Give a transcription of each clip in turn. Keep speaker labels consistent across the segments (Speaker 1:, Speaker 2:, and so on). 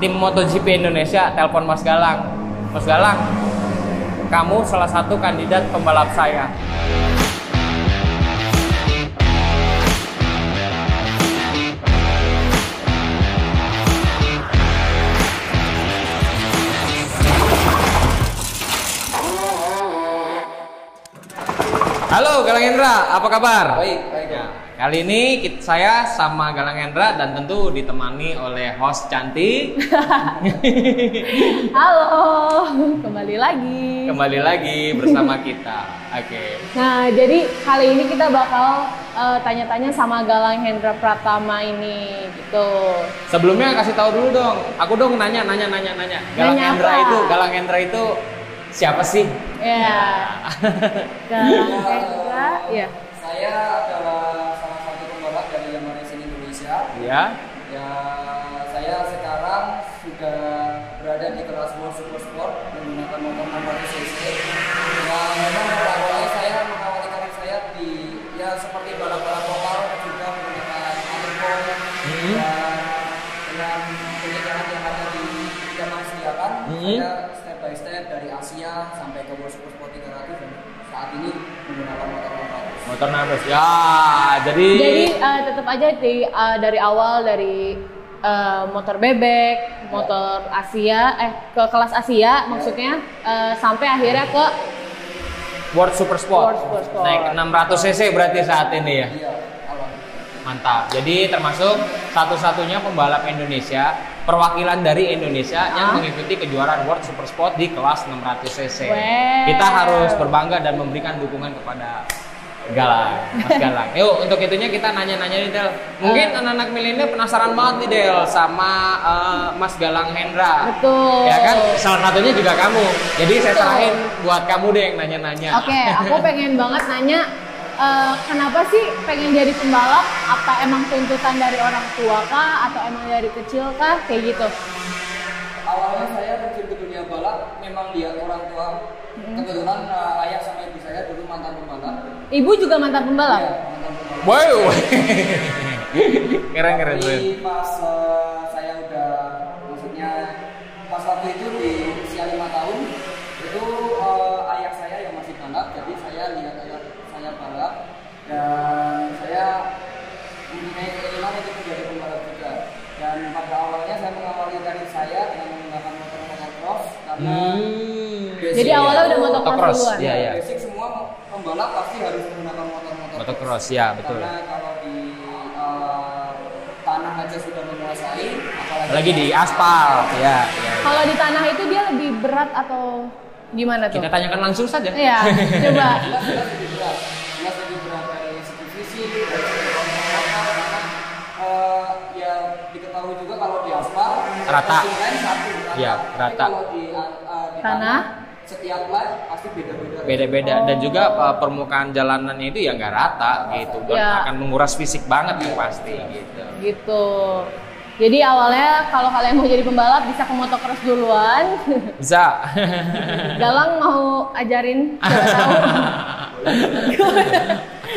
Speaker 1: tim MotoGP Indonesia telepon Mas Galang. Mas Galang, kamu salah satu kandidat pembalap saya. Halo Galang Hendra, apa kabar?
Speaker 2: Baik, baik ya.
Speaker 1: Kali ini kit- saya sama Galang Hendra dan tentu ditemani oleh host cantik.
Speaker 3: Halo, kembali lagi.
Speaker 1: Kembali lagi bersama kita. Oke.
Speaker 3: Nah, jadi kali ini kita bakal eh, tanya-tanya sama Galang Hendra Pratama ini gitu.
Speaker 1: Sebelumnya kasih tahu dulu dong. Aku dong nanya nanya nanya nanya. Galang
Speaker 3: Nanya
Speaker 1: Hendra
Speaker 3: apa?
Speaker 1: itu Galang Hendra itu siapa sih? Iya.
Speaker 3: Ya. Galang Hendra, ya.
Speaker 2: Saya adalah salah satu pembalap dari Yamaha Racing Indonesia.
Speaker 1: Ya.
Speaker 2: Ya, saya sekarang sudah berada di kelas World Super Sport menggunakan motor 600 cc. Nah, memang pada awalnya saya mengawali karir saya di ya seperti balap-balap lokal juga menggunakan Alinkom
Speaker 1: Mhm.
Speaker 2: dan dengan penjagaan yang ada di Yamaha sediakan.
Speaker 1: Mhm.
Speaker 2: kan? Saya step by step dari Asia sampai ke World Super Sport 300 dan saat ini menggunakan motor 600.
Speaker 1: Motor Narus. Ya. Jadi.
Speaker 3: Jadi eh, tetap aja di eh, dari awal dari eh, motor bebek, motor Asia, eh ke kelas Asia maksudnya eh, sampai akhirnya ke
Speaker 1: World Super Sport.
Speaker 3: World Super Sport.
Speaker 1: Naik 600 cc berarti saat ini ya.
Speaker 2: Iya, alhamdulillah.
Speaker 1: Mantap. Jadi termasuk satu-satunya pembalap Indonesia perwakilan dari Indonesia yang
Speaker 3: Ah.
Speaker 1: mengikuti kejuaraan World Super Sport di kelas 600 cc.
Speaker 3: Wow.
Speaker 1: Kita harus berbangga dan memberikan dukungan kepada Galang, Mas Galang. Yuk, untuk itunya kita nanya-nanya nih Del. Mungkin
Speaker 3: Ah.
Speaker 1: anak-anak milenial penasaran banget nih Del sama eh, Mas Galang Hendra.
Speaker 3: betul.
Speaker 1: Ya kan, salah satunya juga kamu. Jadi saya
Speaker 3: Betul.
Speaker 1: saranin buat kamu deh yang nanya-nanya.
Speaker 3: Oke, aku pengen banget nanya eh, kenapa sih pengen jadi pembalap? Apa emang tuntutan dari orang tua kah atau emang dari kecil kah kayak gitu?
Speaker 2: awalnya saya terjun ke dunia balap memang lihat orang tua kebetulan uh, ayah sama ibu saya dulu mantan pembalap
Speaker 3: Ibu juga mantan pembalap.
Speaker 2: Iya, mantan pembalap
Speaker 1: Wow. keren keren keren.
Speaker 2: tapi pas uh, saya udah maksudnya pas waktu itu di usia lima tahun itu uh, ayah saya yang masih balap jadi saya lihat ayah saya balap dan saya mempunyai keinginan untuk menjadi pembalap juga dan pada awalnya saya mengawali karir saya dengan menggunakan motor motor cross karena
Speaker 1: Hmm.
Speaker 3: Jadi awalnya udah motocross
Speaker 1: Motocross,
Speaker 3: duluan.
Speaker 1: Iya, iya.
Speaker 2: Basic semua pembalap pasti harus menggunakan motor-motor.
Speaker 1: Motocross, ya, betul.
Speaker 2: Karena kalau di eh, tanah aja sudah menguasai, apalagi
Speaker 1: Lagi di aspal, ya. ya.
Speaker 3: Kalau di tanah itu dia lebih berat atau gimana tuh?
Speaker 1: Kita tanyakan langsung saja.
Speaker 3: Iya, coba.
Speaker 2: Jelas jelas lebih berat. Jelas lebih berat dari segi visi, dari segi kontrol, karena eh, ya diketahui juga kalau di aspal
Speaker 1: Rata.
Speaker 2: passing lane satu rata.
Speaker 1: Iya,
Speaker 2: Tapi
Speaker 1: rata.
Speaker 2: Kalau di, eh, di
Speaker 3: Tanah.
Speaker 2: setiap lane pasti beda-beda.
Speaker 1: Beda-beda dan
Speaker 3: Oh.
Speaker 1: juga uh, permukaan jalanannya itu ya nggak rata gitu. Dan
Speaker 3: Iya.
Speaker 1: akan menguras fisik banget tuh pasti gitu.
Speaker 3: Gitu. Jadi awalnya kalau kalian mau jadi pembalap bisa ke motocross duluan.
Speaker 1: Za.
Speaker 3: Galang mau ajarin siapa tahu.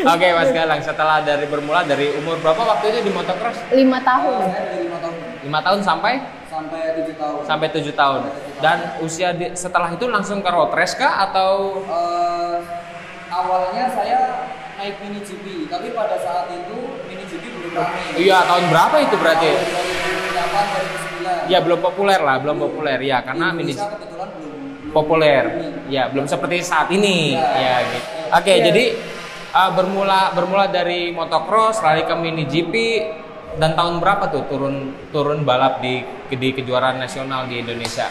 Speaker 1: Oke Mas Galang, setelah dari bermula dari umur berapa waktu itu di motocross?
Speaker 3: Lima tahun.
Speaker 2: Kalau saya dari lima tahun
Speaker 1: 5 tahun sampai
Speaker 2: sampai tujuh tahun.
Speaker 1: sampai 7 tahun. Dan usia di- setelah itu langsung ke road race kah atau
Speaker 2: Eh, awalnya saya naik mini GP, tapi pada saat itu mini GP belum ramai.
Speaker 1: Iya, tahun berapa itu berarti?
Speaker 2: Tahun 2008 2009.
Speaker 1: Ya belum populer lah, belum populer ya karena
Speaker 3: Iya,
Speaker 2: Di
Speaker 1: mini
Speaker 2: Indonesia kebetulan belum belum
Speaker 1: populer.
Speaker 2: booming.
Speaker 1: Ya, belum seperti saat ini. Ya,
Speaker 2: Ya.
Speaker 1: gitu. Oke,
Speaker 3: Iya.
Speaker 1: jadi uh, bermula bermula dari motocross lari ke mini GP dan tahun berapa tuh turun turun balap di di kejuaraan nasional di Indonesia?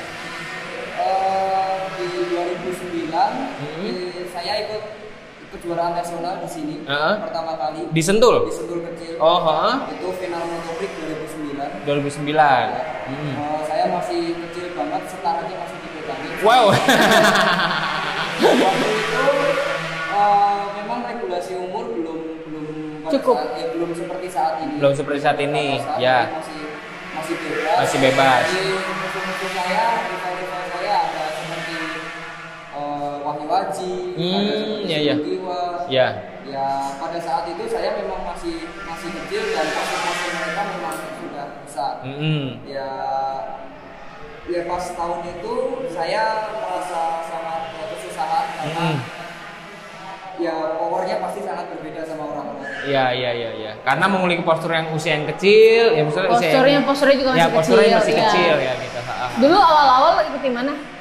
Speaker 2: Eh, di 2009
Speaker 1: Hmm.
Speaker 2: di- saya ikut kejuaraan nasional di sini
Speaker 1: Heeh.
Speaker 2: pertama kali
Speaker 1: Di Sentul.
Speaker 2: di Sentul kecil.
Speaker 1: Oh, heeh.
Speaker 2: Itu final Moto Prix 2009.
Speaker 1: 2009. Hmm.
Speaker 2: Eh, saya masih kecil banget, setaranya masih dipegangin.
Speaker 1: Wow.
Speaker 2: waktu itu eh, memang regulasi umur belum belum pada
Speaker 3: Cukup.
Speaker 2: saat- eh, belum seperti saat ini
Speaker 1: Belum seperti saat ini,
Speaker 2: Saat
Speaker 1: ya.
Speaker 2: masih masih bebas
Speaker 1: Masih bebas.
Speaker 2: Jadi, musuh-musuh saya rival-rival saya ada seperti eh, Wahyu Aji
Speaker 1: Hmm,
Speaker 2: ada seperti
Speaker 1: ya, ya.
Speaker 2: Sugiono.
Speaker 1: ya.
Speaker 2: ya pada saat itu saya memang masih
Speaker 1: Hmm.
Speaker 2: masih kecil dan pasukan mereka memang sudah besar
Speaker 1: Mm-mm.
Speaker 2: ya ya pas tahun itu saya merasa sangat eh, kesusahan karena
Speaker 1: Hmm.
Speaker 2: ya powernya pasti sangat berbeda sama orang lain.
Speaker 1: Iya iya iya iya. Karena memiliki postur yang usia yang kecil, ya maksudnya usia
Speaker 3: Posturnya
Speaker 1: yang-
Speaker 3: posturnya juga masih
Speaker 1: ya, posturnya
Speaker 3: kecil.
Speaker 1: masih
Speaker 3: iya.
Speaker 1: kecil ya gitu. Ha, ha, ha.
Speaker 3: Dulu awal-awal ikut di mana?